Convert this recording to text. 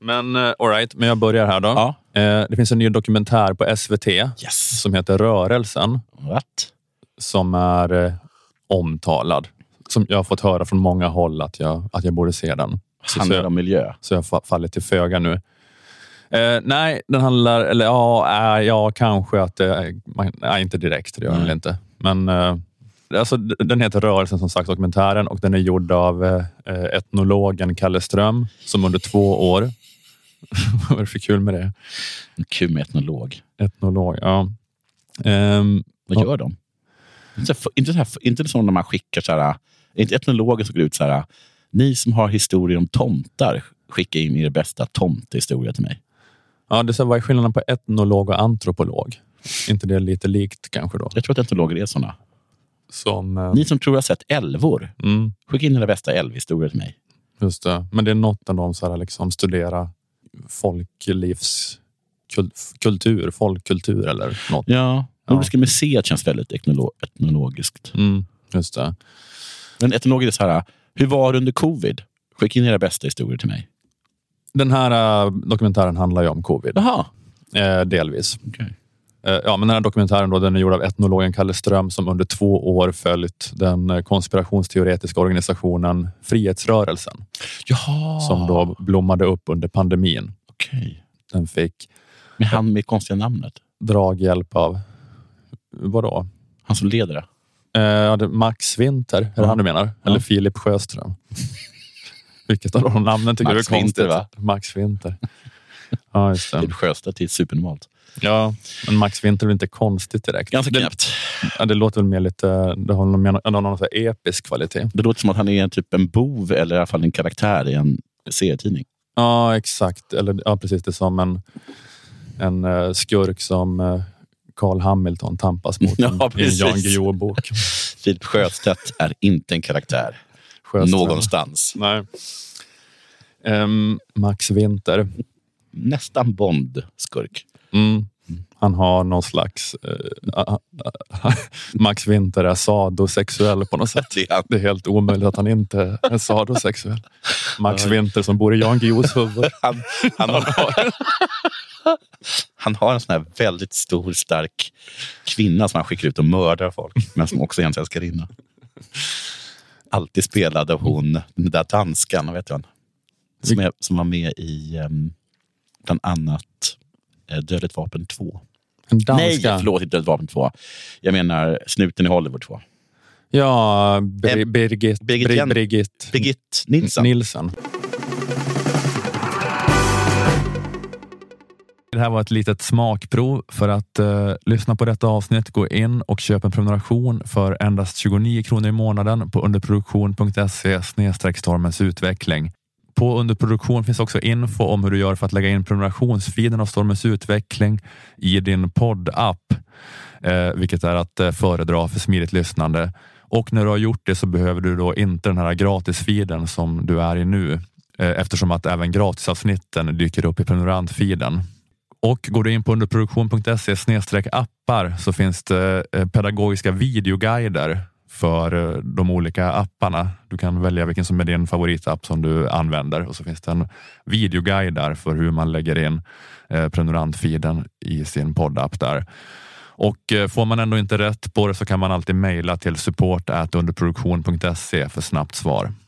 Men eh, all right, men jag börjar här då. Eh, det finns en ny dokumentär på SVT Yes. som heter Rörelsen What? som är eh, omtalad. Som jag har fått höra från många håll att jag, att jag borde se den. Så, så, Handlar det jag, om miljö? så jag fa- faller till föga nu. Eh, nej, den handlar... Eller ja, äh, ja kanske att det... är- man- Nej, inte direkt. Det gör den Nej. väl inte. Men eh, alltså, d- den heter Rörelsen, som sagt, dokumentären. Och den är gjord av eh, eh, etnologen Kalle Ström som under två år... Vad är det för kul med det? Kul med etnolog. Etnolog, ja. Ehm, Vad Ja. gör de? Inte, så- inte, så här, inte som när man skickar så här, inte etnologer som går ut så här, ni som har historier om tomtar, skicka in er bästa tomtehistoria till mig. ja, det är så här, vad är skillnaden på etnolog och antropolog? inte det lite likt kanske då? Jag tror att etnologer är såna. Som, eh, Ni som tror jag har sett älvor, mm, skicka in era bästa älvhistorier till mig. just det. Men det är något av dem så här, liksom studera folklivs kul- kultur, folkkultur eller något. Ja. Nordiska museet känns väldigt etnolo- etnologiskt. Mm, just det. Men etnologer är så här, hur var det under covid? Skicka in era bästa historier till mig. Den här eh, dokumentären handlar ju om covid, Jaha. eh, delvis. Okej. Eh, Ja, men den här dokumentären då, den är gjord av etnologen Kalle Ström som under två år följt den eh, konspirationsteoretiska organisationen Frihetsrörelsen. Jaha. som då blommade upp under pandemin. Okej. Den fick Men han med konstiga namnet? draghjälp av vadå? Han som leder det? Eh, ja, det- Max Winter, är det Ja. han du menar? Eller Ja. Filip Sjöström? Vilket av de namnen tycker Max du är konstigt? Winter, va? Max Winter. Ja, just det. Typ Sjöstedt är supernormalt. Ja, men Max Winter är väl inte konstigt direkt. Ganska det, knäppt. ja, det låter väl mer lite... Det har någon, det har någon så här episk kvalitet. Det låter som att han är typ en bov eller i alla fall en karaktär i en serietidning. Ja, exakt. Eller ja, precis. Det är som en, en eh, skurk som eh, Carl Hamilton tampas mot Ja, i en precis. Jan Guillou-bok. Filip Sjöstedt är inte en karaktär Sjöström. någonstans. Nej. Ehm, Max Winter. Nästan Bond-skurk. Mm. Han har någon slags... eh, a- a- a- Max Winter är sadosexuell på något sätt. Det är han. Det är helt omöjligt att han inte är sadosexuell. Max Winter som bor i Jan Guillous huvud. Han, han, har, han har en sån här väldigt stor, stark kvinna som han skickar ut och mördar folk, men som också är hans älskarinna. Alltid spelade hon den där danskan, vad heter hon? Som, är, som var med i um, bland annat eh, Dödligt vapen 2. En danska. Nej, förlåt, inte Dödligt vapen 2. Jag menar Snuten i Hollywood 2. Ja, Bir- Eh, Birgit, Birgit Birgit, Jen- Birgit, Birgit Nilsson. Nilsson. Det här var ett litet smakprov. För att eh, lyssna på detta avsnitt, gå in och köp en prenumeration för endast 29 kronor i månaden på underproduktion.se stormens utveckling. På underproduktion finns också info om hur du gör för att lägga in prenumerationsfiden av stormens utveckling i din poddapp, eh, vilket är att eh, föredra för smidigt lyssnande. Och när du har gjort det så behöver du då inte den här gratisfiden som du är i nu, eh, eftersom att även gratisavsnitten dyker upp i prenumerantfiden. Och går du in på underproduktion.se snedstreck appar så finns det eh, pedagogiska videoguider för eh, de olika apparna. Du kan välja vilken som är din favoritapp som du använder och så finns det en videoguide där för hur man lägger in eh, prenumerantfiden i sin poddapp där. Och eh, får man ändå inte rätt på det så kan man alltid mejla till support underproduktion.se för snabbt svar.